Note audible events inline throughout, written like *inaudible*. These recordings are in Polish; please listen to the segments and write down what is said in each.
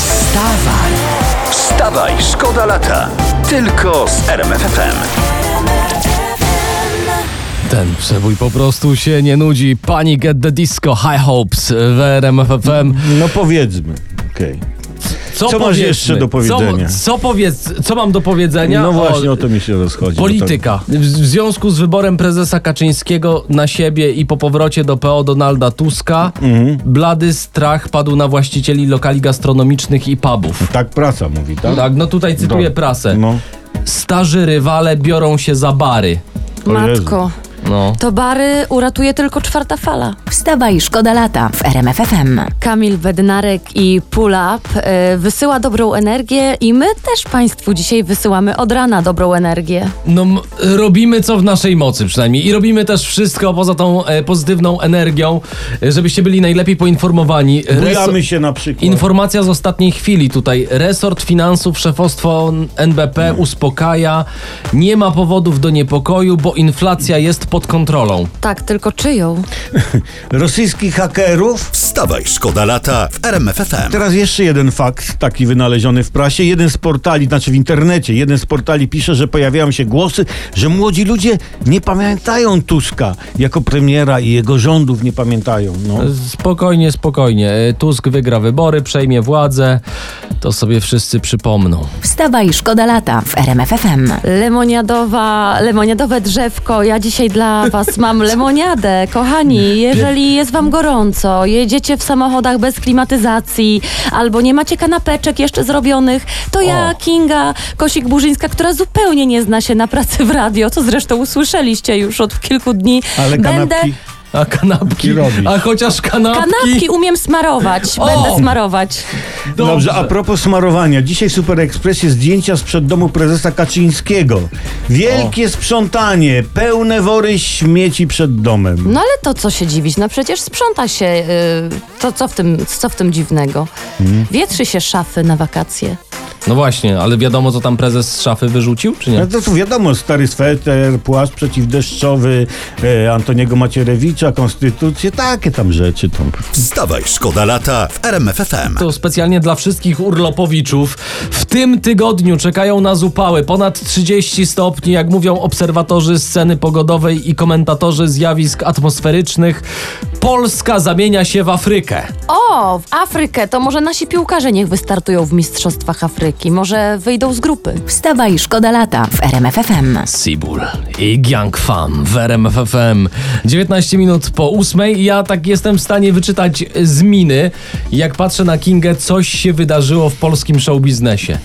Wstawaj, Wstawaj, szkoda lata. Tylko z RMFFM. Ten przebój po prostu się nie nudzi. Panic at the Disco, High Hopes w RMF FM. No powiedzmy. Okej. Co masz powiedzmy? jeszcze do powiedzenia? Co, co, powiedz, co mam do powiedzenia? No właśnie o to mi się rozchodzi. bo Polityka. W w związku z wyborem prezesa Kaczyńskiego na siebie i po powrocie do PO Donalda Tuska, Mhm. blady strach padł na właścicieli lokali gastronomicznych i pubów. Tak, tak praca mówi, tak? Tak, no tutaj cytuję Dobra. prasę. No. Starzy rywale biorą się za bary. O Jezu. Matko, No. to bary uratuje tylko czwarta fala. Wstawaj, szkoda lata w RMFFM. Kamil Bednarek i Pulap y, wysyła dobrą energię i my też Państwu dzisiaj wysyłamy od rana dobrą energię. No, m- robimy co w naszej mocy przynajmniej i robimy też wszystko poza tą e, pozytywną energią, e, żebyście byli najlepiej poinformowani. Bujamy się na przykład. Informacja z ostatniej chwili tutaj. Resort Finansów, szefostwo NBP uspokaja. Nie ma powodów do niepokoju, bo inflacja jest pod kontrolą. Tak, tylko czyją? *laughs* Rosyjskich hakerów. Wstawaj, szkoda lata w RMFFM. Teraz jeszcze jeden fakt, taki wynaleziony w prasie. Jeden z portali, znaczy w internecie, jeden z portali pisze, że pojawiają się głosy, że młodzi ludzie nie pamiętają Tuska jako premiera i jego rządów nie pamiętają. No. Spokojnie, spokojnie. E, Tusk wygra wybory, przejmie władzę. To sobie wszyscy przypomną. Wstawaj, szkoda lata w RMFFM. Lemoniadowa, lemoniadowe drzewko. Ja dzisiaj dla Was mam lemoniadę. Kochani, jeżeli jest Wam gorąco, jedziecie w samochodach bez klimatyzacji albo nie macie kanapeczek jeszcze zrobionych, to ja, Kinga Kosik-Burzyńska, która zupełnie nie zna się na pracy w radio, co zresztą usłyszeliście już od kilku dni, Ale będę... kanapki... A kanapki? Ty robisz. A chociaż kanapki? Kanapki umiem smarować. O! Będę smarować. Dobrze. Dobrze. a propos smarowania. Dzisiaj w Super Expressie zdjęcia sprzed domu prezesa Kaczyńskiego. Wielkie sprzątanie, pełne wory śmieci przed domem. No ale to co się dziwić? No przecież sprząta się. y, to co w tym, co w tym dziwnego? Mhm. Wietrzy się szafy na wakacje. No właśnie, ale wiadomo, co tam prezes z szafy wyrzucił, czy No nie? to tu wiadomo, stary sweter, płaszcz przeciwdeszczowy, e, Antoniego Macierewicza, konstytucję, takie tam rzeczy. Tam. Wstawaj, szkoda lata w RMFFM. To specjalnie dla wszystkich urlopowiczów. W tym tygodniu czekają nas upały ponad 30 stopni, jak mówią obserwatorzy sceny pogodowej i komentatorzy zjawisk atmosferycznych. Polska zamienia się w Afrykę. O, w Afrykę! To może nasi piłkarze niech wystartują w Mistrzostwach Afryki. Może wyjdą z grupy. Wstawaj, szkoda lata w RMFFM. Sibul i Gang Fam w RMF FM. 19 minut po ósmej. Ja tak jestem w stanie wyczytać z miny, jak patrzę na Kingę, coś się wydarzyło w polskim showbiznesie.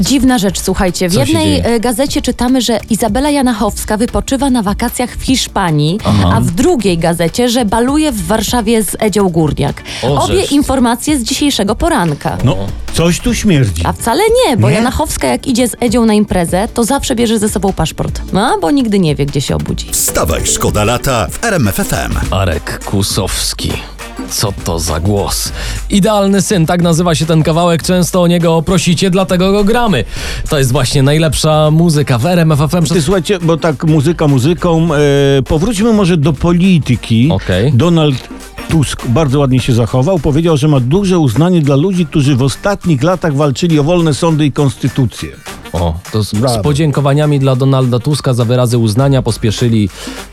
Dziwna rzecz, słuchajcie. W Co się jednej dzieje? y, gazecie czytamy, że Izabela Janachowska wypoczywa na wakacjach w Hiszpanii, a w drugiej gazecie, że baluje w Warszawie z Edzią Górniak. O, Obie żeż. informacje z dzisiejszego poranka. No, coś tu śmierdzi. A wcale nie, bo Nie? Janachowska jak idzie z Edzią na imprezę, to zawsze bierze ze sobą paszport. No, bo nigdy nie wie, gdzie się obudzi. Wstawaj, szkoda lata w RMFFM. Arek Kusowski. Co to za głos? Idealny syn, tak nazywa się ten kawałek, często o niego prosicie, dlatego go gramy. To jest właśnie najlepsza muzyka w RMF FM. Ty słuchajcie, bo tak muzyka muzyką, e, powróćmy może do polityki. Okej. Donald Tusk bardzo ładnie się zachował. Powiedział, że ma duże uznanie dla ludzi, którzy w ostatnich latach walczyli o wolne sądy i konstytucję. O, to z, z Brawo. podziękowaniami dla Donalda Tuska za wyrazy uznania pospieszyli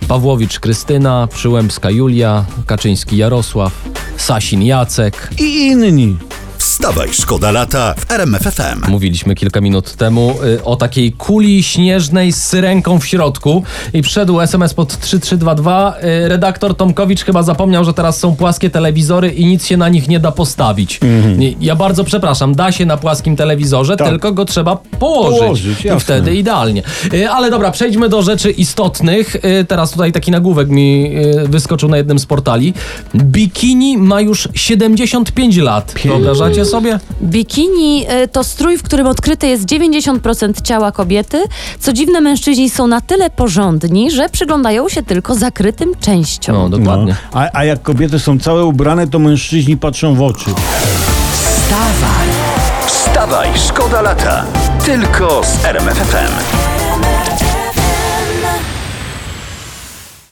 Pawłowicz Krystyna, Przyłębska Julia, Kaczyński Jarosław, Sasin Jacek. I inni. Wstawaj, szkoda lata w RMFFM. Mówiliśmy kilka minut temu y, o takiej kuli śnieżnej z syrenką w środku i przyszedł SMS pod 3322. Y, redaktor Tomkowicz chyba zapomniał, że teraz są płaskie telewizory i nic się na nich nie da postawić. Nie, Ja bardzo przepraszam, da się na płaskim telewizorze, Mhm. Tak. tylko go trzeba położyć. Położyć, I jasne. wtedy idealnie. Y, ale dobra, przejdźmy do rzeczy istotnych. Y, teraz tutaj taki nagłówek mi y, wyskoczył na jednym z portali. Bikini ma już 75 lat. Wyobrażacie sobie? Bikini y, to strój, w którym odkryte jest 90% ciała kobiety. Co dziwne, mężczyźni są na tyle porządni, że przyglądają się tylko zakrytym częściom. No, dokładnie. No. A, a jak kobiety są całe ubrane, to mężczyźni patrzą w oczy. wstawaj, Wstawaj, szkoda lata. Tylko z RMFFM.